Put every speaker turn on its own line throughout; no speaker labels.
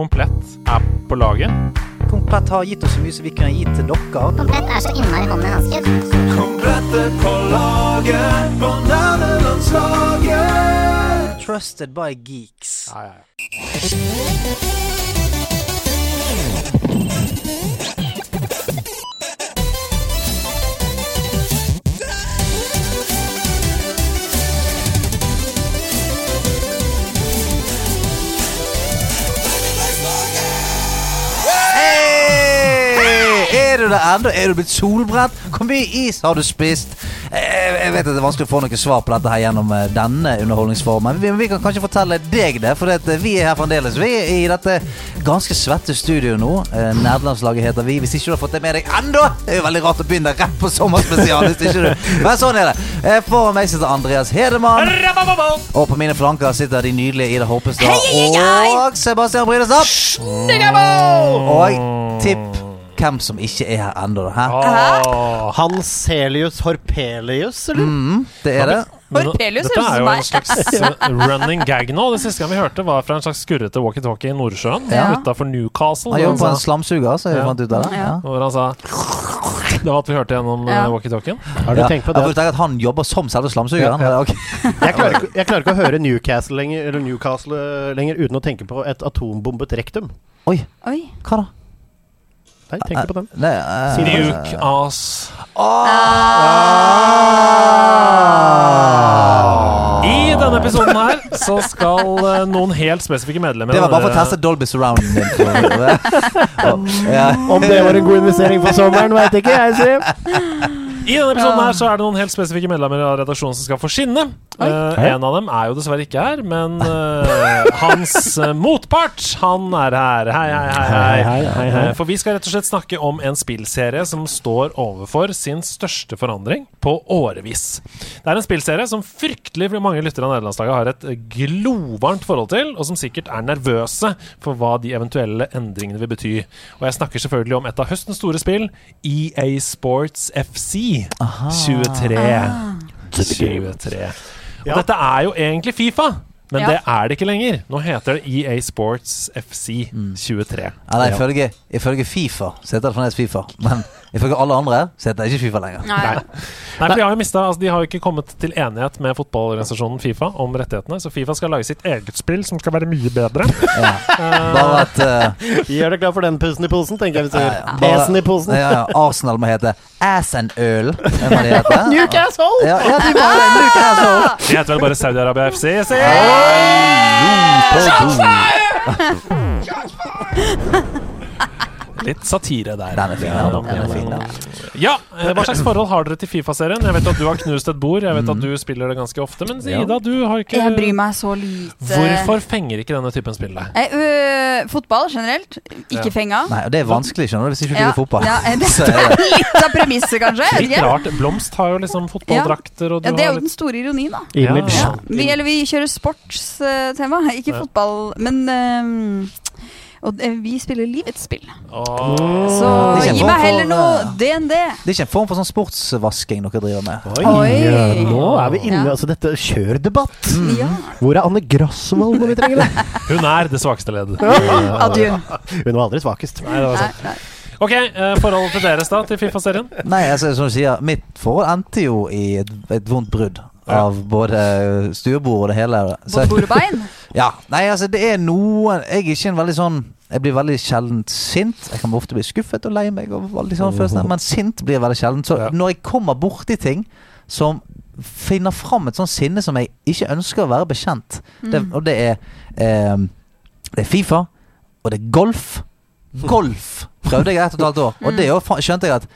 Komplett er på laget.
Komplett har gitt oss så mye som vi kunne gi til dere.
Komplett er så innmari hånd i hanske.
Komplettet på laget, bananlandslaget.
Trusted by geeks.
Ja, ja, ja.
Hey! Er du der ennå? Er du blitt solbrent? Hvor mye is har du spist? Eh, Jeg vet at det er vanskelig å få noe svar på dette her gjennom eh, denne underholdningsformen. Vi, vi kan kanskje fortelle deg det, for det at eh, vi er her fremdeles. Vi er i dette ganske svette studioet nå. Eh, Nerdelandslaget heter vi. Hvis ikke du har fått det med deg ennå, det er jo veldig rart å begynne rett på sommerspesial. Hvis ikke du. Men sånn er det. Eh, Foran meg sitter Andreas Hedemann, og på mine flanker sitter de nydelige Ida Hoppestad og Sebastian Brynestad. Og tipp hvem som ikke er her ennå. da, Hæ?
Åh.
Hanselius Horpelius, eller?
Mm, det er det.
Horpelius
Dette er jo
høres ut som
en slags eh, running gag nå. Det siste gang vi hørte, var fra en slags skurrete walkietalkie i Nordsjøen
Ja.
utafor Newcastle.
Han
hvor han
jobber på
sa-
en slamsuger, så vi
Ja.
fant ut av det. Ja.
Og Hvor han sa Det var at vi hørte gjennom
Ja.
ja. walkietalkien.
Har du
Ja.
tenkt på
Jeg
det?
får tenke at han jobber som selve slamsugeren.
Ja, ja.
Ok.
Jeg klarer, ikke, jeg klarer ikke å høre Newcastle lenger, eller Newcastle eh, lenger uten å tenke på et atombombet rektum.
Oi,
Oi.
hva da?
Nei, tenk på den.
Nei, eh,
Siden du-
Nuke ass
Ah.
I denne episoden her så skal eh, noen helt spesifikke medlemmer
det var bare for å
av
teste Dolby Surrounden din. for- ja.
Om det var en god investering for sommeren, veit ikke jeg, Siv.
I denne episoden her så er det noen helt spesifikke medlemmer av redaksjonen som skal få skinne. Eh, en av dem er jo dessverre ikke her, men eh, hans eh, motpart, han er her. Hei, hei, hei. hei. Eh, For vi skal rett og slett snakke om en spillserie som står overfor sin største forandring på årevis. Det er en spillserie som fryktelig mange lyttere av nederlandslaget har et eh, glovarmt forhold til, og som sikkert er nervøse for hva de eventuelle endringene vil bety. Og jeg snakker selvfølgelig om et av høstens store spill, EA Sports FC 23. 23. Og dette er jo egentlig Fifa. Men
Ja.
det er det ikke lenger. Nå heter det EA Sports FC 23.
Eller ifølge, ifølge Fifa så heter det fremdeles Fifa. Men ifølge alle andre så heter det ikke Fifa lenger.
Nei.
Nei, for De har jo mistet, altså, de har jo ikke kommet til enighet med fotballorganisasjonen Fifa om rettighetene. Så Fifa skal lage sitt eget spill som skal være mye bedre.
Ja. Bare at eh,
Gjør deg klar for den pusen i posen, tenker jeg vi sier.
bare-
Pesen i posen.
Ja, ja, Arsenal må hete Ass and Øl. Det må de hete.
Newcastle!
Ja, ja, de bare, Nuke Asshole.
Det heter vel bare Saudi-Arabia FC. jeg sier. Litt satire der.
Den er fin, den. Den er fin, den.
Ja, eh, Hva slags forhold har dere til Fifa-serien? Jeg vet at du har knust et bord. Jeg vet at du spiller det ganske ofte. Men Ida, du har ikke
Jeg bryr meg eh, så lite.
Hvorfor fenger ikke denne typen spill deg?
Eh, øh, fotball generelt. Ikke
Ja.
fenga.
Nei, og det er vanskelig, skjønner du, hvis ikke du liker fotball.
ja, eh,
Så
det
er det-
er litt av premisset, kanskje. jeg vet
Litt
ikke.
rart. Blomst har jo liksom fotballdrakter, og du
Ja, det er
har litt
jo den store ironien, da.
Image.
Ja.
Ja. Vi, eller vi kjører sportstema, ikke
Ja.
fotball. Men øhm, og eh, vi spiller livets spill.
Åh.
Så
Det er
gi
kjempe-
meg heller noe
for,
DND.
Det er ikke en form for sånn sportsvasking dere driver med.
Oi,
Oi.
Nå er vi inne
Ja.
altså dette kjørdebatt.
Ja.
Hvor er Anne Grosvold når vi trenger det?
Hun er det svakeste leddet.
Adjø.
Hun var aldri svakest.
Nei, det var
Nei,
sant.
nei.
Ok, eh, forholdet til deres da, til Fifa-serien?
Nei, altså, som du sier, mitt forhold endte jo i et, et vondt brudd.
Ja.
Av både stuebord og det hele. Så-
Både bord og bein.
ja. Nei, altså, det er noen Jeg er ikke en veldig sånn Jeg blir veldig sjelden sint. Jeg kan ofte bli skuffet og lei meg, og veldig sånne følelser, men sint blir jeg veldig sjelden. Så
Ja.
når jeg kommer borti ting som finner fram et sånt sinne som jeg ikke ønsker å være bekjent,
Mm.
det, og det er eh, Det er Fifa, og det er golf. Golf prøvde jeg ett og et halvt år,
Mm.
og det jo fa- skjønte jeg at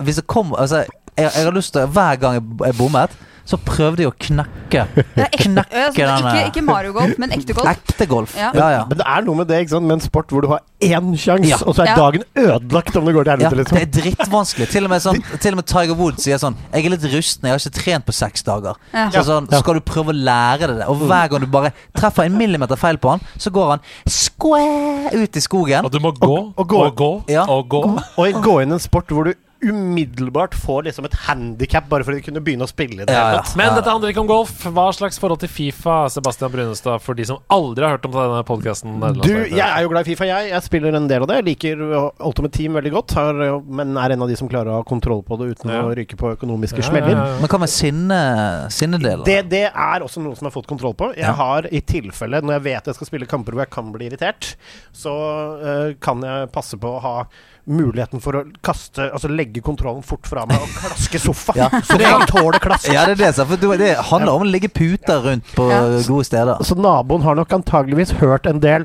Hvis det kom Altså, jeg, jeg har lyst til Hver gang jeg, jeg bommet, så prøvde jeg å knekke
Det er ekte,
Knekke
altså,
den
ikke,
der.
ikke Mario Golf, men ekte golf.
ekte golf.
Ja.
Ja, ja.
Men det er noe med det, ikke sant? med en sport hvor du har én sjanse,
Ja.
og så er
Ja.
dagen ødelagt om det går til
Ja,
helvete.
det
liksom.
er drittvanskelig. Til og, med sånn, til og med Tiger Woods sier sånn 'Jeg er litt rusten, jeg har ikke trent på seks dager'.
Ja.
Så sånn,
Ja.
skal du prøve å lære deg det. Og hver gang du bare treffer en millimeter feil på han, så går han skvæ ut i skogen.
Og du må gå
og gå.
og gå
Ja.
og gå.
Og gå inn i en sport hvor du umiddelbart får liksom et handikap bare for å kunne begynne å spille i det.
Ja,
hele
ja.
tatt.
Men dette handler ikke om golf. Hva slags forhold til Fifa Sebastian Brunestad, for de som aldri har hørt om denne podkasten?
Du, jeg er jo glad i Fifa, jeg. Jeg spiller en del av det. Jeg liker uh, Ultimate Team veldig godt, har, uh, men er en av de som klarer å ha kontroll på det uten
Ja.
å ryke på økonomiske smeller.
Men hva med sinne, sinnedeler?
Det, det er også noe som jeg har fått kontroll på. Jeg
Ja.
har i tilfelle, når jeg vet jeg skal spille kamper hvor jeg kan bli irritert, så eh, kan jeg passe på å ha muligheten for å kaste Altså legge kontrollen fort fra meg og klaske sofaen.
Ja, for det-
Sofaen tåler klask.
Ja, det er det. sant? For du- det handler om å ligge puter rundt på
Ja.
gode steder.
Så naboen har nok antageligvis hørt en del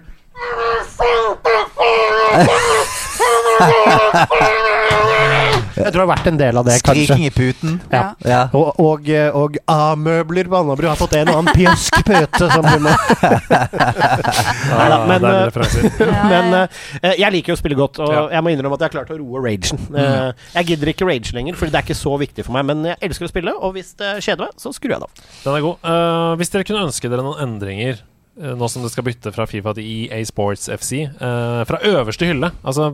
Jeg tror det har vært en del av det, kanskje.
Skriking i puten.
Ja.
Ja.
Og, og, eh, og A-møbler på Alnabru har fått en og annen pjøsk pøte som blir med. Neida, men, eh, Men eh, jeg liker jo å spille godt, og
Ja. Mm.
jeg må innrømme at jeg har klart å roe ragen. Eh, jeg gidder ikke rage lenger, Fordi det er ikke så viktig for meg. Men jeg elsker å spille, og hvis det kjeder meg, så skrur jeg det av.
Den er god. Eh, hvis dere kunne ønske dere noen endringer eh, nå som det skal bytte fra Fifa til EA Sports FC, eh, fra øverste hylle Altså,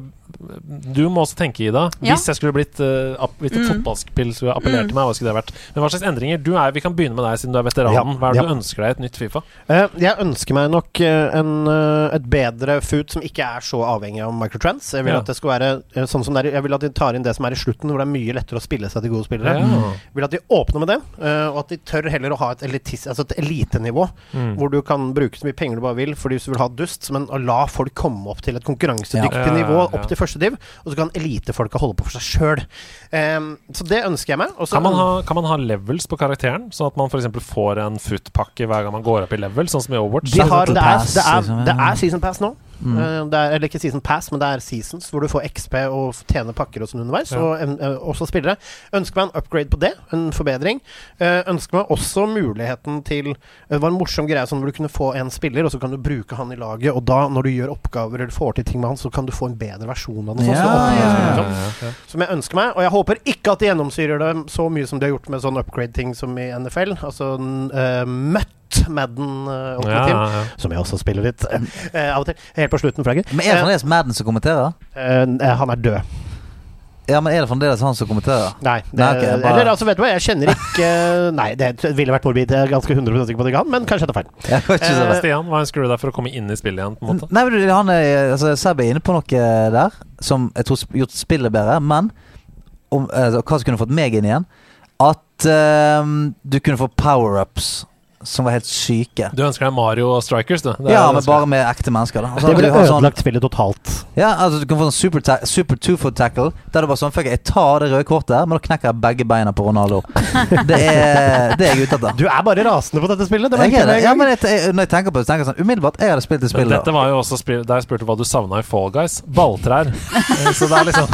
du må også tenke, Ida.
Ja.
Hvis jeg skulle blitt eh, app, Hvis et
Mm.
fotballspill skulle appellert til meg, hva skulle det vært? Men hva slags endringer? Du er, vi kan begynne med deg, siden du er veteranen.
Ja,
Hva er det
ja.
du ønsker deg i et nytt Fifa?
Eh, jeg ønsker meg nok eh, en, eh, et bedre food som ikke er så avhengig av microtrans. Jeg vil
Ja.
at det skal være eh, sånn som det er, Jeg vil at de tar inn det som er i slutten, hvor det er mye lettere å spille seg til gode spillere.
Mm.
Jeg vil at de åpner med det, eh, og at de tør heller å ha et, elitis, altså et elitenivå.
Mm.
Hvor du kan bruke så mye penger du bare vil fordi du vil ha dust, men å la folk komme opp til et konkurransedyktig
Ja. Ja, ja, ja.
nivå, opp til første div, og så kan elitefolka holde på for seg sjøl. så det ønsker jeg meg. og så-
Kan man, ha, kan man ha levels på karakteren, sånn at man f.eks. får en footpakke hver gang man går opp i level, sånn som i Overwatch?
de har, det, er,
Pass,
det, er,
liksom,
det
ja.
er season pass nå.
Mm.
Eh, det er, eller ikke season pass, men det er seasons, hvor du får XP og f- tjener pakker og sånn underveis.
Ja.
Og en- eh, også spillere. Ønsker meg en upgrade på det, en forbedring. Eh, ønsker meg også muligheten til eh, Det var en morsom greie sånn hvor du kunne få en spiller, og så kan du bruke han i laget, og da, når du gjør oppgaver eller får til ting med han, så kan du få en bedre versjon av den. Sånn,
Ja,
så oppgraderer
ja,
spilleren,
ja.
liksom.
Sånn.
Som jeg ønsker meg, og jeg håper ikke at de gjennomsyrer det så mye som de har gjort med sånn upgrade-ting som i NFL. Altså uh, møtt Madden uh, Ultimate
Ja,
Team,
ja, ja.
som jeg også spiller litt eh, eh, av og til. Helt på slutten, Fragger.
Men er det fremdeles Madden som kommenterer?
eh, han er død.
Ja, men er det fremdeles han som kommenterer?
Nei. Det,
Nei, ok, bare-
Eller altså, vet du hva, jeg kjenner ikke eh, Nei, det ville vært morbid. Jeg er ganske 100 sikker på at det kan, men kanskje jeg tar feil.
Jeg vet ikke så
Men
det.
Stian, hva ønsker du deg for å komme inn i spillet igjen? på en måte?
Nei, men du, han er, altså, Seb er inne på noe der som jeg tror sp- gjort spillet bedre, men om, altså, hva som kunne fått meg inn igjen At eh, du kunne få power-ups som var helt syke.
Du ønsker deg Mario og Strikers, du. Det er
Ja,
det du
men
ønsker.
bare med ekte mennesker. da Altså,
Det
at du
ville
har sånn-
ødelagt spillet totalt.
Ja, altså du kan få en super, ta super two-foot tackle. Der det bare sånn Fuck, jeg tar det røde kortet, her, men da knekker jeg begge beina på Ronaldo. Det er det er jeg er ute etter.
Du er bare rasende på dette spillet. Det
Jeg
merker
er det.
jeg med en
Ja,
gang.
men jeg, jeg, når jeg tenker på det, så tenker jeg sånn umiddelbart Jeg hadde spilt det spillet.
Dette
da.
var jo også spill der jeg spurte hva du savna i Fall Guys. Balltrær. Eh, Så det er liksom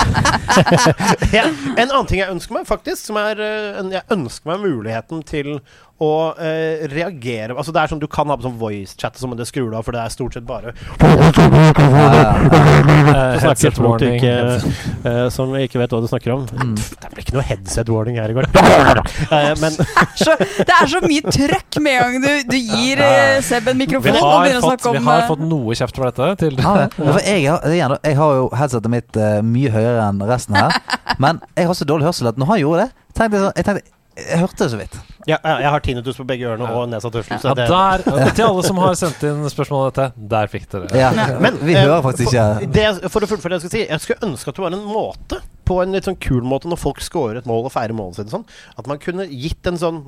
ja. En annen ting jeg ønsker meg, faktisk, som er eh, en- Jeg ønsker meg muligheten til å eh, reagere Altså, det er sånn du kan ha på sånn voice-chat, og sånn, men det skrur du av, for det er stort sett bare
eh, headset
Snakker folk
warning.
ikke,
headset-
eh, Som ikke vet hva du snakker om.
Mm.
Det ble ikke noe headset warning her i går. Eh, men
Så, det er så mye trøkk med en gang du, du gir eh, Seb en
Vi
mikrofon og
har,
begynner å
fått,
snakke
vi
om
har
eh,
fått noe kjeft for dette. Til.
Ja, det. Ja, for jeg, har, igjen, da, jeg har jo headsetet mitt eh, mye høyere enn resten her, men jeg har så dårlig hørsel at når han gjorde det, tenkte jeg sånn Jeg, tenkte, jeg hørte det så vidt.
ja, ja, jeg har tinnitus på begge ørene og nedsatt hørsel.
Ja,
så det-
der, til alle som har sendt inn spørsmål om dette, der fikk dere det.
Ja,
Men,
vi
eh,
hører faktisk
for-
ikke
det, For å fullføre det jeg skal si, jeg skulle ønske at det var en måte, på en litt sånn kul måte, når folk scorer et mål og feirer målet sitt og sånn, at man kunne gitt en sånn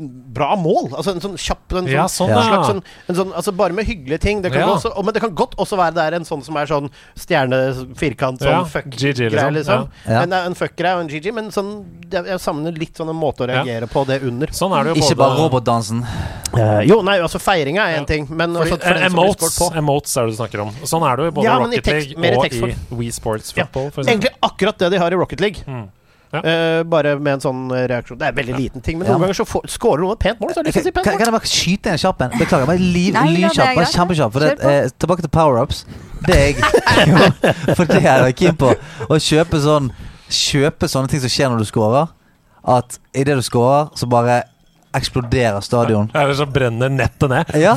bra mål. Altså en sånn kjapp en sånn,
Ja, sånn,
en
ja.
slags sånn, en sånn, altså Bare med hyggelige ting. Det kan
Ja.
gå også, og- men det kan godt også være det er en sånn som er sånn stjerne, firkant, sånn
Ja,
fuck
GG, liksom.
greie, liksom.
Ja.
En, en fuck-greie og en GG, men sånn, jeg, jeg savner litt sånn en måte å
Ja.
reagere på det under.
Sånn er det jo
Ikke bare
både
robotdansen.
Eh, jo, nei, altså feiringa er
Ja.
én ting, men
Fordi,
også for
eh,
den som blir
emotes,
scoret på.
emotes er det du snakker om. Sånn er det jo i både
Ja, men i
Rocket
tekst- mer
League
i
og i
tekstform.
Wii Sports
Ja.
Football. For eksempel.
Egentlig akkurat det de har i Rocket League.
Mm. Ja.
Eh, bare med en sånn eh, reaksjon. Det er veldig liten ting, men
Ja.
noen ganger så får- scorer noen et pent mål. Så er det
Kan,
lyst til å si pent
kan
mål.
jeg bare skyte en kjapp en? Beklager. Bare liv,
Nei, ja, det er
lynkjapp. Bare
greit.
kjempekjapp. For det,
Kjør på.
eh, tilbake til powerups. Det er jeg jo, For det er jeg keen på. Å kjøpe sånn Kjøpe sånne ting som skjer når du scorer. At idet du scorer, så bare eksploderer stadion.
Eller så brenner nettet ned.
Ja.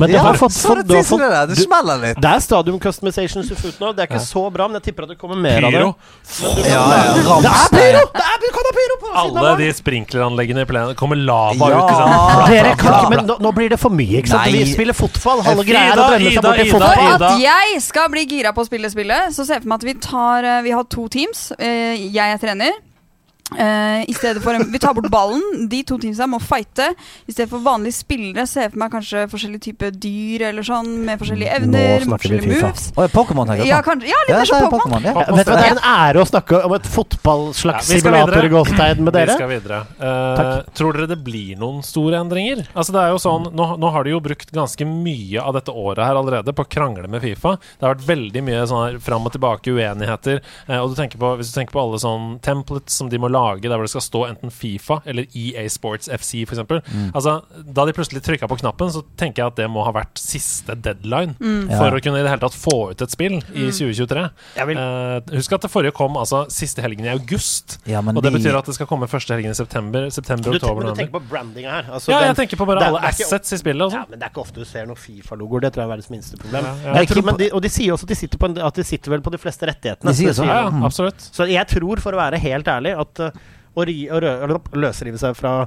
Men du
ja,
har fått-
så er det
du har
tissen
fått-
det der. Det
du-
smeller litt.
Det er stadium customizations i Footnote. Det er ikke så bra, men jeg tipper at det kommer mer av det.
Pyro.
Men du
Ja,
kan-
ja.
Det er pyro!
Ramstein.
Det er, du kan ha pyro på siden
Alle
av
de
deg!
sprinkleranleggene i plenen kommer lava
Ja.
ut. ikke sant?
Dere kan ikke, men nå, nå blir det for mye, ikke sant?
Nei.
Vi spiller fotball, halve
Ida,
greia er å brenne seg
Ida,
bort i
Ida,
fotball.
Ida.
For at jeg skal bli gira på å spille spillet, så ser jeg for meg at vi tar eh, Vi har to teams. Eh, Jeg er trener. Eh, I stedet for en, Vi tar bort ballen. De to teamsa må fighte. I stedet for vanlige spillere ser jeg for meg kanskje forskjellige typer dyr eller sånn, med forskjellige evner,
snakker vi
forskjellige
FIFA.
moves.
Å, Pokémon, tenker
Ja,
jeg. på.
kanskje, ja litt
Ja, så
mer
er
som
det
Pokémon.
Pokémon. ja.
Ja, vet du hva, Det er en ære å snakke om et fotballslags
Ja, vi skal
simulator
videre.
i Gåstein med
Vi
dere.
skal videre. Eh, tror dere det blir noen store endringer? Altså det er jo sånn, nå, nå har de jo brukt ganske mye av dette året her allerede på å krangle med Fifa. Det har vært veldig mye sånn her fram og tilbake uenigheter. Eh, og du tenker på, Hvis du tenker på alle sånn templates som de må lage der hvor det skal stå enten Fifa eller EA Sports FC f.eks. eksempel
Mm.
Altså, da de plutselig trykka på knappen, så tenker jeg at det må ha vært siste deadline for
Ja.
å kunne i det hele tatt få ut et spill i 2023.
Mm. Jeg vil-
Eh, husk at det forrige kom altså siste helgen i august.
Ja, men
og det
de-
betyr at det skal komme første helgen i september. september
Du,
oktober,
men du
november.
tenker på brandinga her. Altså,
Ja,
den-
jeg tenker på bare
det er-
alle
det er ikke-
assets i spillet. Og
Ja,
sånn.
men Det er ikke ofte du ser noen Fifa-logoer. Det tror jeg er verdens minste problem.
Ja, ja.
Jeg
Jeg tror
tror, sånn, men
på-
de, og de sier også at de sitter, på en, at de sitter vel på de fleste rettighetene.
De sier
så
så.
det
ja,
sier- sånn.
ja,
Mm.
absolutt.
Så jeg tror, for å være helt ærlig, at eh, å, ri, å rø, eller opp- løsrive seg fra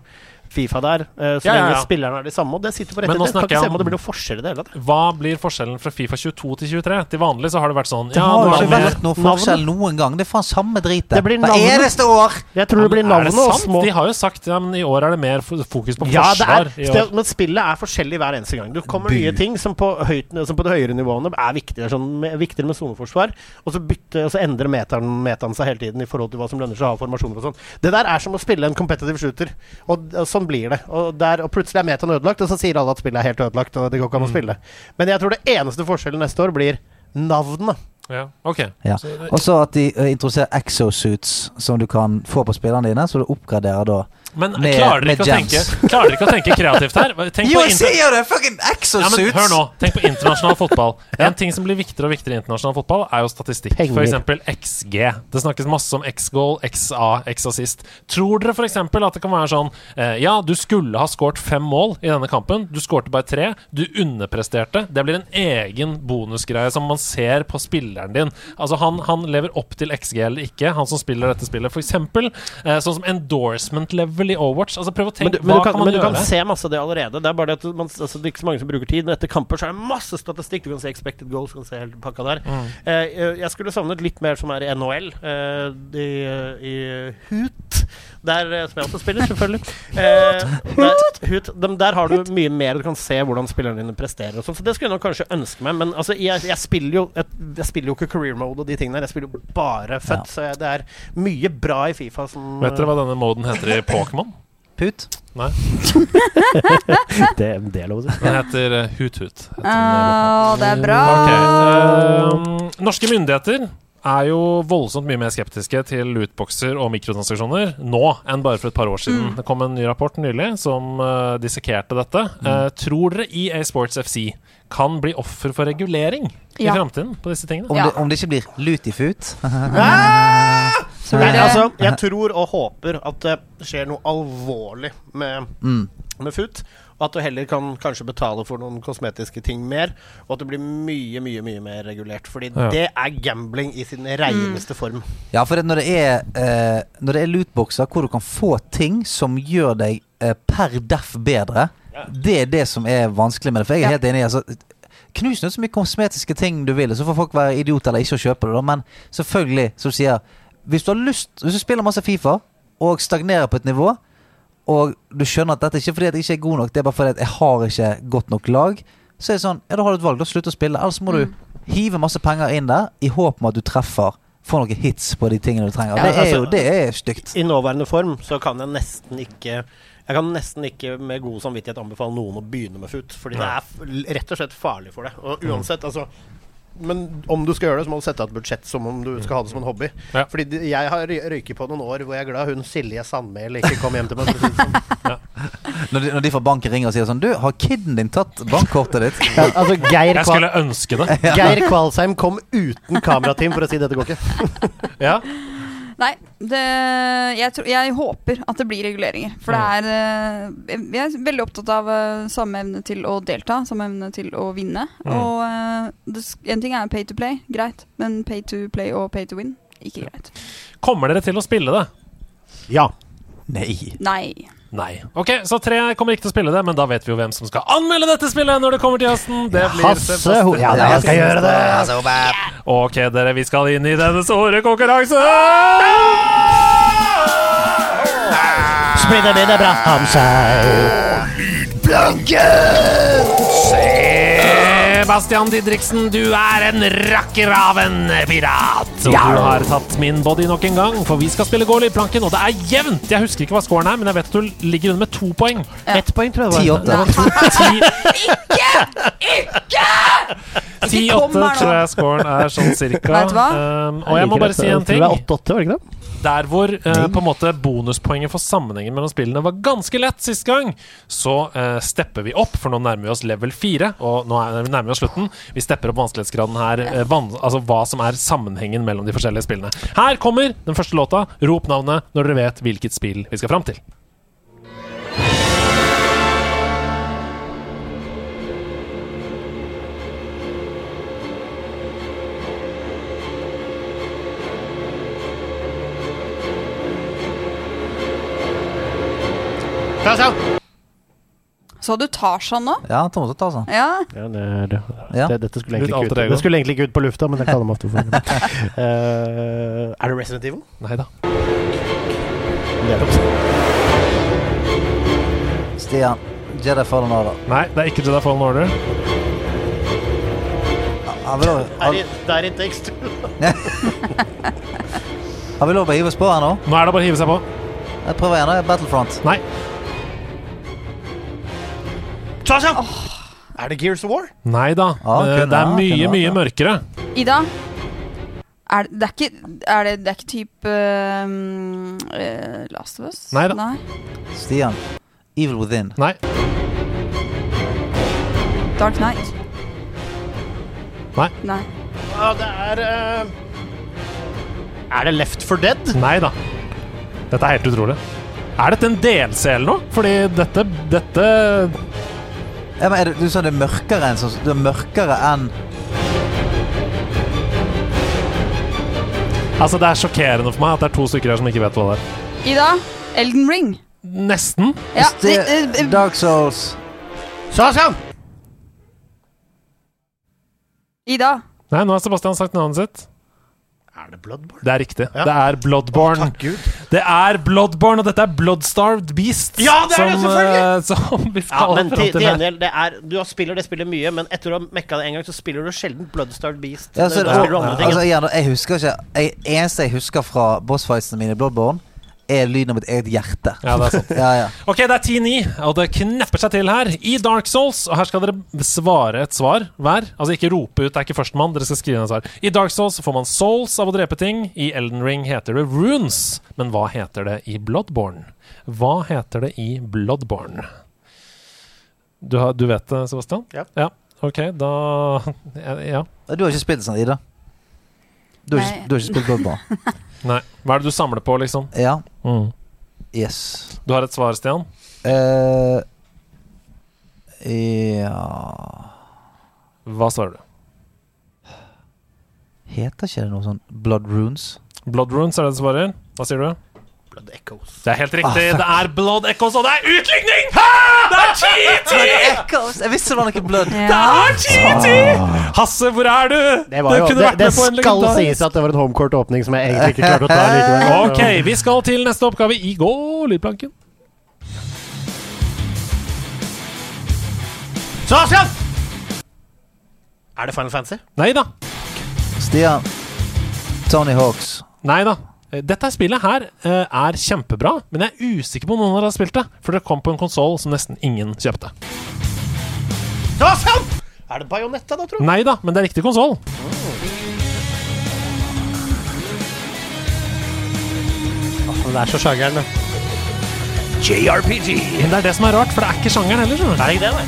Fifa der, eh, så
Ja, ja,
lenge
ja.
spillerne er de samme, og det sitter på
Men nå
rettigheter. Kan
snakker
ikke
jeg
se
om-
om det blir noen forskjell i det hele tatt.
Hva blir forskjellen fra Fifa 22 til 23? Til vanlig så har det vært sånn
Det
ja,
har
nå
jo
er det
ikke
mer-
vært noe forskjell noen gang. Det er faen samme dritet.
Det blir
Hver
navnet.
eneste år.
Jeg tror det blir
Ja, men er det
navnet og
sant?
små
De har jo sagt ja, men i år er det mer fo- fokus på
ja, det er,
forsvar. i år.
sted, men spillet er forskjellig hver eneste gang. Du kommer nye ting som på, høyt, som på det høyere nivåene er viktigere, sånn, med, viktigere med soneforsvar, og så, bytte, og så endrer metaen, metaen seg hele tiden i forhold til hva som lønner seg å ha formasjoner og sånn. Det der er som å spille en competitive shooter, og, d- og sånn blir det. Og, der, og plutselig er metaen ødelagt, og så sier alle at spillet er helt ødelagt, og det går ikke
Mm.
an å spille. Men jeg tror det eneste forskjellen neste år blir navnet.
Ja, ok.
Ja.
Så det-
Og så at de eh, introduserer exosuits som du kan få på spillerne dine, så du oppgraderer da.
Men
Med-
klarer dere
med
ikke, å
gems.
tenke, klarer dere ikke å tenke kreativt her? Tenk på inter-
gjør det! Fucking
Ja, men hør nå, tenk på internasjonal fotball. En ting som blir viktigere og viktigere i internasjonal fotball, er jo statistikk.
Penger.
For eksempel XG. Det snakkes masse om X-goal, XA, X-assist. Tror dere for eksempel at det kan være sånn eh, Ja, du skulle ha skåret fem mål i denne kampen. Du skårte bare tre. Du underpresterte. Det blir en egen bonusgreie som man ser på spilleren din. Altså, han, han lever opp til XG eller ikke, han som spiller dette spillet. For eksempel eh, sånn som endorsement level i Overwatch. Altså, prøv å
Men
tenke
du, men,
hva
du kan,
kan man
men du
gjøre?
kan se masse av det allerede. Det er bare det at man, altså, det er ikke så mange som bruker tid. Men etter kamper så er det masse statistikk. Du kan se expected goals, du kan se hele pakka der. Eh, eh, jeg skulle savnet litt mer som er i NHL, eh, i, i Hoot. Der, eh, som jeg også spiller, selvfølgelig. Eh, der, Hoot, dem, der har du mye mer. Du kan se hvordan spillerne dine presterer og sånn. Så det skulle jeg nok kanskje ønske meg, men altså, jeg, jeg, spiller jo, jeg, jeg spiller jo ikke career mode og de tingene der. Jeg spiller jo bare født,
Ja.
så jeg, det er mye bra i Fifa som
Vet dere hva denne moden heter i Pokémon?
Put.
det, det er lov å si.
Den heter eh, Hut Hut. heter den der.
Å, Ah, det er bra.
Ok, ehm, norske myndigheter er jo voldsomt mye mer skeptiske til lootboxer og mikrotransaksjoner nå enn bare for et par år siden. Det kom en ny rapport nylig som eh, dissekerte dette.
Mm.
Eh, tror dere EA Sports FC kan bli offer for regulering i
Ja.
framtiden på disse tingene?
Om,
Ja.
det, om det ikke blir lutifut.
Så
Nei,
blir det
altså, jeg tror og håper at det skjer noe alvorlig med, med FUT. Og at du heller kan kanskje betale for noen kosmetiske ting mer. Og at det blir mye, mye mye mer regulert. Fordi
Ja.
det er gambling i sin reneste form.
Ja, for det, når, det er, eh, når det er lootboxer hvor du kan få ting som gjør deg eh, per deff bedre, det er det som er vanskelig med det. For jeg er
Ja.
helt enig. Altså, knus nå så mye kosmetiske ting du vil, så får folk være idioter eller ikke å kjøpe det. Da. Men selvfølgelig, som du sier, hvis du har lyst Hvis du spiller masse Fifa og stagnerer på et nivå, og du skjønner at dette er ikke fordi at jeg ikke er god nok, det er bare fordi at jeg har ikke godt nok lag, så er det sånn Ja, da har du et valg. Da slutt å spille. Ellers må
Mm.
du hive masse penger inn der i håp om at du treffer. Får noen hits på de tingene du trenger.
Ja,
det er
altså-
jo det er stygt.
I nåværende form så kan jeg nesten ikke jeg kan nesten ikke med god samvittighet anbefale noen å begynne med FUT. Fordi det
Nei. Mm.
er f- rett og slett farlig for deg. Og uansett, altså men om du skal gjøre det, så må du sette av et budsjett som om du skal ha det som en hobby.
Ja.
Fordi de- jeg har ry- røyket på noen år hvor jeg er glad hun Silje Sandmæl ikke kom hjem til meg. for å si det sånn.
Når de, når de fra banken ringer og sier sånn Du, har kiden din tatt bankkortet ditt?
Ja, altså Geir,
Jeg skulle ønske det.
Kval Geir Kvalsheim kom uten kamerateam for å si 'dette går ikke'.
Ja.
Nei, det, jeg, tror, jeg håper at det blir reguleringer. For det er eh, Jeg er veldig opptatt av eh, samme evne til å delta, samme evne til å vinne.
Mm.
Og eh, det, sk- en ting er pay to play, greit. Men pay to play og pay to win, ikke greit.
Kommer dere til å spille det?
Ja.
Nei.
Nei.
Nei. Ok, Så tre kommer ikke til å spille det, men da vet vi jo hvem som skal anmelde dette spillet når det kommer til høsten. Det blir
Hasse Ho... Ja,
Ja,
jeg skal gjøre det!
Altså, bare-
Ok, dere, vi skal inn i denne store konkurransen!
Spinne mine bratt om seg.
Sebastian Eh, Didriksen, du er en rakker av en pirat. Og du har tatt min body nok en gang, for vi skal spille goal i planken, og det er jevnt! Jeg husker ikke hva scoren er, men jeg vet at du ligger under med to poeng.
Ett poeng, tror jeg det var.
10-8.
Ti- 10-8
kom her nå.
tror jeg scoren er sånn cirka.
Vet du hva?
Um, og jeg må
liker
bare
dette.
si en ting.
Jeg tror det er 8-8, var det ikke det?
Der hvor eh, på en måte bonuspoenget for sammenhengen mellom spillene var ganske lett sist gang, så eh, stepper vi opp, for nå nærmer vi oss level 4, og nå er, nærmer vi oss slutten. Vi stepper opp vanskelighetsgraden her, eh, van, altså hva som er sammenhengen mellom de forskjellige spillene. Her kommer den første låta. Rop navnet når dere vet hvilket spill vi skal fram til.
Så du Tarzan nå?
Ja, Thomas og Tarzan.
Ja.
Ja, det, er det,
Ja.
det, dette skulle
Litt
egentlig, ikke
alter
ut,
ego.
det skulle egentlig ikke ut på lufta, men det kaller man ofte for Eh, Er det Resident Evil?
Nei da.
Det er det.
Stian. Jedi Fallen Order.
Nei, det er ikke Jedi Fallen Order.
Har vi lov,
Er
har,
det, det er ikke tekst.
har vi lov å hive oss på her nå?
Nå er det bare å hive seg på.
Jeg prøver igjen. da. Battlefront.
Nei.
Tarzan! Er det Gears of War?
Nei da.
Ja,
Eh,
kunne
det er
vært,
mye,
kunne vært,
mye mørkere.
Ida? Er det, det er ikke, er det, det er ikke type um, eh, Last of Us?
Nei da.
Stian. Evil Within.
Nei.
Dark Knight?
Nei.
Nei.
Ja, det er eh, Er det Left for Dead?
Nei da. Dette er helt utrolig. Er dette en DLC eller noe? Fordi dette, dette
Ja, men er det, du sa det er mørkere enn sånn Det er mørkere enn
Altså, det er sjokkerende for meg at det er to stykker her som ikke vet hva det er.
Ida? Elden Ring?
Nesten.
Ja,
Sti
eh, eh,
Dark Souls.
Tarzan!
Ida?
Nei, nå har Sebastian sagt navnet sitt.
Er det Bloodborne?
Det er riktig.
Ja.
Det er Bloodborne.
Takk Gud.
det er Bloodborne, og dette er Bloodstarved Beasts.
Ja, det er det, selvfølgelig!
eh, som vi
Ja,
skal fram
men til, til
til her.
gjengjeld, det er, du har spiller det spillet mye, men etter å ha mekka det en gang, så spiller du sjelden Bloodstarred Beast.
Ja, så,
da
og,
spiller du andre ting.
altså, igjen, da, jeg husker ikke jeg, Eneste jeg husker fra bossfightsene mine i Bloodborne, er lyden av mitt eget hjerte.
Ja, det er sant.
Ja, ja.
Ok, det er 10-9, og det knepper seg til her i Dark Souls. Og her skal dere svare et svar hver. Altså ikke rope ut, det er ikke førstemann. Dere skal skrive ned et svar. I Dark Souls får man souls av å drepe ting. I Elden Ring heter det runes. Men hva heter det i Bloodborne? Hva heter det i Bloodborne? Du, har, du vet det, Sebastian?
Ja.
Ok, da Ja.
Du har ikke spilt sånn, Ida? Du har, ikke,
Nei.
du har ikke spilt Bloodborne?
Nei. Hva er det du samler på, liksom?
Ja.
Mm.
Yes.
Du har et svar, Stian?
eh ja
Hva svarer du?
Heter ikke det noe sånn Blood Runes?
Blood runes er det du svarer? Hva sier du?
Blood Echoes.
Det er helt riktig.
Ah, fuck.
det er Blood Echoes, og det er utligning! Det er TT!
Echoes! Jeg visste det var noe blood.
Det er TT! Hasse, hvor er du?
Ah. Det, var
du
jo,
kunne
det,
vært
det
med på en
skal
legendar-
sies at det var en homecourt-åpning som jeg egentlig ikke klarte å ta likevel.
Ok, vi skal til neste oppgave i Gå lydplanken.
Tarzan! Er det Final Fantasy?
Nei da.
Stian. Tony Hawks.
Nei da. Eh, Dette spillet her eh, er kjempebra, men jeg er usikker på om noen av dere har spilt det. For det kom på en konsoll som nesten ingen kjøpte.
Tarzan! Er det Bajonetta, da, tro?
Nei da, men det er riktig konsoll.
Det er så sjangeren, det.
Men det er det som er rart, for det er ikke sjangeren heller. skjønner du.
Er det ikke det, nei?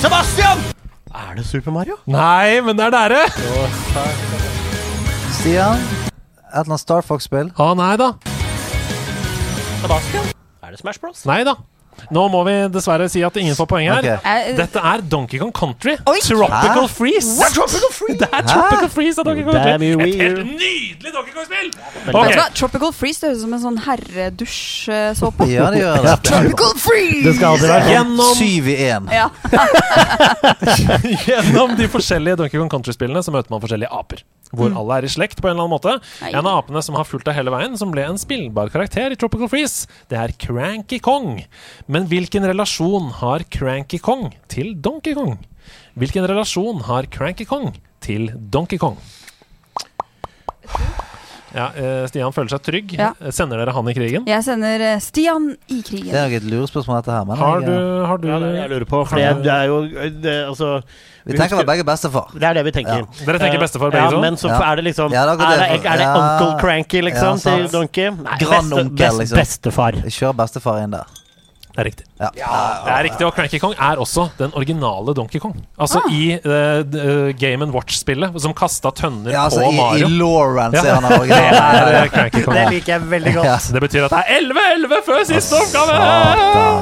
Sebastian! Er det Super Mario?
Nei, men det er dere!
Stian? Et eller annet Star Fox-spill?
Å, nei da.
Sebastian? Er det Smash Bros?
Nei da. Nå må vi dessverre si at ingen får poeng her.
Ok.
Eh,
Dette er Donkey Kong Country.
Oi!
Tropical
Hæ?
Freeze. Det er Tropical Freeze Det er Tropical Freeze av Donkey Kong
Damn
Country.
you,
Et helt
weird.
nydelig Donkey Kong-spill!
Vet du hva?
Ok,
Tropical Freeze det høres ut som en sånn herredusjsåpe.
Ja, det gjør det.
Tropical
Det
Freeze!
skal alltid være sånn.
Gjennom,
Syv i én.
Ja.
gjennom de forskjellige Donkey Kong Country-spillene så møter man forskjellige aper. Hvor alle er i slekt på en eller annen måte.
Mm. Nei.
En av apene som har fulgt deg hele veien, som ble en spillbar karakter i Tropical Freeze, det er Cranky Kong. Men hvilken relasjon har Cranky Kong til Donkey Kong? Hvilken relasjon har Cranky Kong til Donkey Kong? Ja, eh, Stian føler seg trygg.
Ja.
Sender dere han i krigen?
Jeg sender eh, Stian i
Det er
krigen.
nok et lurespørsmål, dette her. Men
Har
jeg-
du, har du
Ja, det er det jeg lurer på, for det, det er jo det, altså,
eh, vi tenker å være begge bestefar.
det er det vi tenker.
Dere tenker
Eh,
bestefar, begge
ja,
to?
Men så
Ja.
er det liksom
Ja, det er
Er
akkurat
det,
det.
er det
Ja.
onkel Cranky,
Ja,
liksom, til
sant.
Donkey? Nei,
Grandonkel, liksom.
Bestefar.
Jeg kjører bestefar inn der.
Det er riktig.
Ja.
Det er riktig, og Cranky Kong er også den originale Donkey Kong. Altså i eh, d- eh, Game and Watch-spillet, som kasta tønner
Ja, altså,
på
I, i
Mario.
Lawrence er han
det er eh,
original.
Cranky Kong.
Det liker jeg veldig
Ja.
godt.
Så det betyr at det er 11-11 før siste oppgave!
Satan.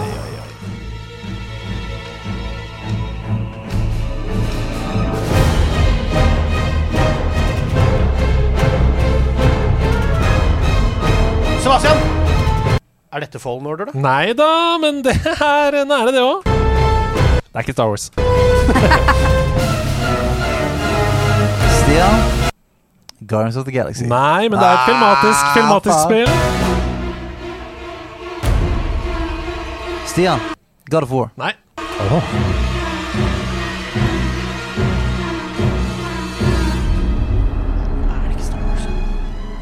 Sebastian! Er dette Fallen Order, da?
Nei da, men det er eh, nære, det òg. Det er ikke Star Wars.
Stian? Guardians of the Galaxy.
Nei, men det er et filmatisk, filmatisk
faen.
spill.
Stian, God of War.
Nei.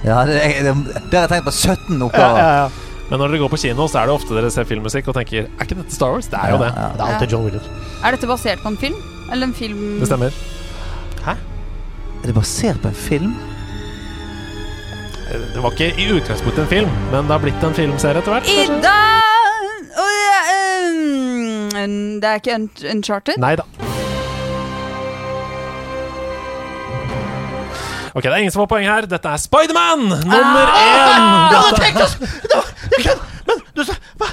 Ja, det, jeg, det, det har jeg tenkt på 17
Ja,
oppgaver.
ja, ja.
Men når dere går på kino, så er det ofte dere ser filmmusikk og tenker Er ikke dette Star Wars? Det er jo det.
Det er alltid John Williams.
Er dette basert på en film? Eller en film
Det stemmer.
Er det basert på en film?
Det var ikke i utgangspunktet en film, men det har blitt en filmserie etter hvert.
I dag Å, ja, ehm, Det er ikke Un- Uncharted?
Nei da. Ok, det er ingen som får poeng her. Dette er Spiderman nummer
Ah!
én. Dette,
Du sa- hva?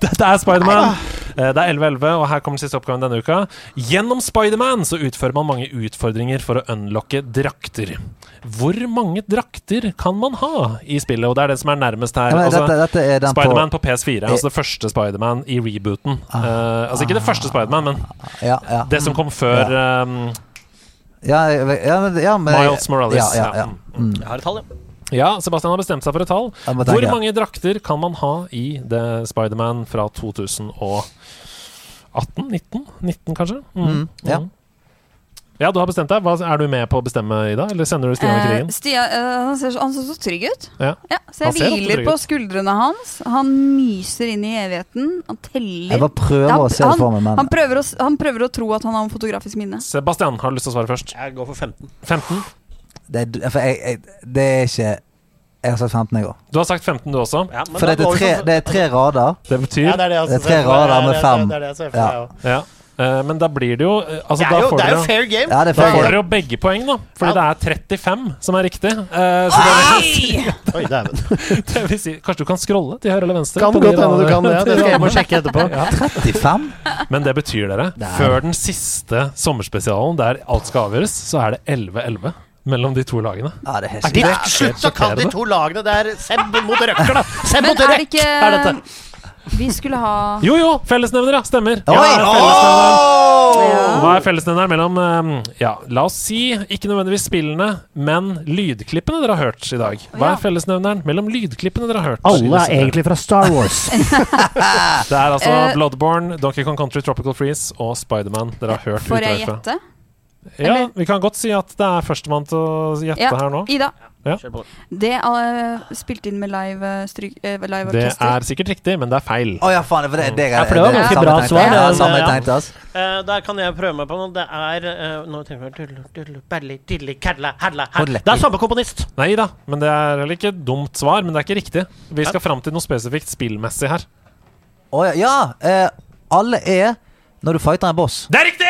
dette er Spiderman. Eh, Det er 11-11, og her kommer siste oppgaven denne uka. Gjennom Spiderman så utfører man mange utfordringer for å unlocke drakter. Hvor mange drakter kan man ha i spillet? Og det er det som er nærmest
Ja,
her.
men,
Altså,
dette, dette er den
Spiderman
på
på
Eh,
PS4, altså det første Spiderman i rebooten.
Ah.
Eh, altså ikke det første Spiderman, men
Ja, ja.
det som kom før eh,
ja, jeg- ja, men, ja, men
Miles Morales.
Ja, ja, ja.
Mm.
Jeg har et tall, ja.
Ja, Sebastian har bestemt seg for et tall.
Jeg må
Hvor
tenke.
mange drakter kan man ha i The Spiderman fra 2018? 19? 19 kanskje?
Mm, ja.
Ja, du har bestemt deg. Hva, er du med på å bestemme, Ida? Eller sender du Stian i
Eh,
krigen?
Stian, eh, han, ser, så- han ser så trygg ut.
Ja.
så jeg
Han ser ofte
hviler
trygg
på
ut.
skuldrene hans. Han myser inn i evigheten. Han teller.
Jeg bare prøver
Han-
å se det for meg, men
Han prøver, å, s- han prøver å tro at han har en fotografisk minne.
Sebastian, har du lyst til å svare først?
Jeg går for 15.
15?
det, er- for jeg, jeg, det er ikke Jeg har sagt 15 i går.
Du har sagt 15, du også.
Ja, men
For
da
det er,
går vi
tre,
for-
det er tre rader.
Det betyr
Ja, det er det jeg
Det er
ser for
tre
meg.
rader
Ja,
med
det er-
fem.
Det er det jeg ser for
Ja.
meg, ja.
Ja. Eh, men da blir det jo eh, altså,
Det
da
er jo,
får
det er jo
dere-
fair game.
Ja, det
Da
er fair
får
game.
dere jo begge poeng, da. Fordi det er 35 som er riktig. Eh, så det,
Oi!
Oi, dæven.
vil, det vil si Kanskje du kan scrolle til høyre eller venstre?
Kan
på
godt
de
hende
radene.
du kan det. Det skal jeg må sjekke etterpå.
Ja.
35?
Men det betyr dere, før den siste sommerspesialen der alt skal avgjøres, så er det 11-11 mellom de to lagene.
Ja, det er helt
Er det
sykt.
rett slutt, så kan de to lagene der Seb mot røkker, da. Seb
Men
mot
er det
røkker
ikke
er dette.
Vi skulle ha
Jo, jo! Fellesnevner, ja. Stemmer.
Oi!
Ja, fellesnevneren.
Ja.
Hva er fellesnevneren mellom ehm, Ja, la oss si ikke nødvendigvis spillene, men lydklippene dere har hørt i dag. Hva
Ja.
er fellesnevneren mellem lydklippene dere har hørt? i
Alle
disse
er egentlig fra Star Wars.
tre? Det er altså
Eh,
Bloodborne, Donkey Kong Country, Tropical Freeze og Spiderman dere har hørt
Får
utdrag
jeg
fra.
gjette?
Ja,
Eller-
vi kan godt si at det er førstemann til å gjette
Ja.
her nå.
Ida.
Ja.
Kjør på.
Det er spilt inn med live, eh, stryk, eh, live
Det
orkester.
er sikkert riktig, men det er feil.
Å ja, faen. For det, det, det,
Ja, for det var ganske
samme
bra
tenkte jeg.
svar,
Ja,
det-
samme
ja.
tenkte jeg, altså.
Eh, der kan jeg prøve meg på noe. Det er eh, Nå tenker jeg dullu, dullu, belli, dilli, kadla, hadla, had.
Hodle.
Det er samme komponist.
Nei da, men det er heller ikke et dumt svar, men det er ikke riktig. Vi skal fram til noe spesifikt spillmessig her.
Å ja. ja eh, alle er når du fighter en boss.
Det er riktig!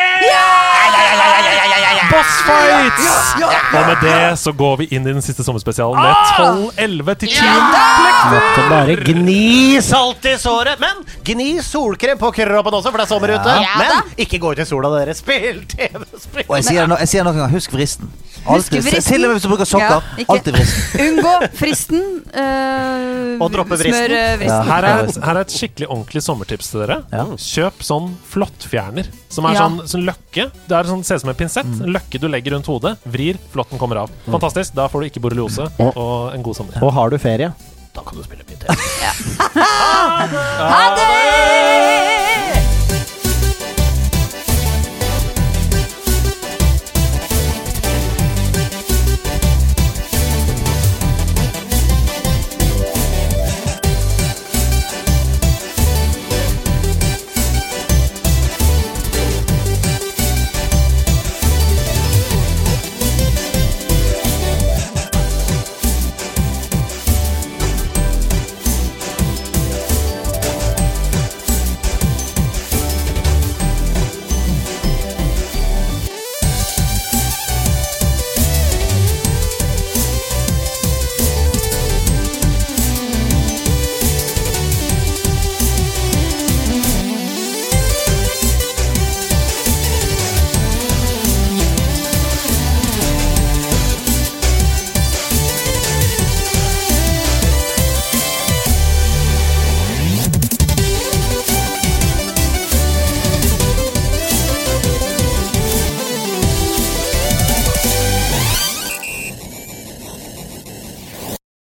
Bossfights! Og med det så går vi inn i den siste sommerspesialen med 12, 11 til 10.
Måtte bare gni
Salt i såret, men gni solkrem på kroppen også, for det er sommer ute.
Ja da.
Men ikke gå ut i sola, dere. Spill TV-spill.
Og jeg sier det nå- jeg sier det noen gang, husk vristen. Alltid.
vristen.
Til og med hvis du bruker sokker.
Ja, ikke-
Alltid vristen.
Unngå fristen. eh,
Og droppe vristen.
Smør eh, vristen.
Her er, her er et skikkelig ordentlig sommertips til dere.
Ja.
Kjøp sånn flottfjerner. Som er
Ja.
sånn, sånn løkke. Det er sånn, ser ut som en pinsett. En løkke du legger rundt hodet. Vrir, flotten kommer av. Fantastisk. Da får du ikke borreliose og en god sommer.
Og har du ferie?
Da kan du spille mye TV.
Ha det!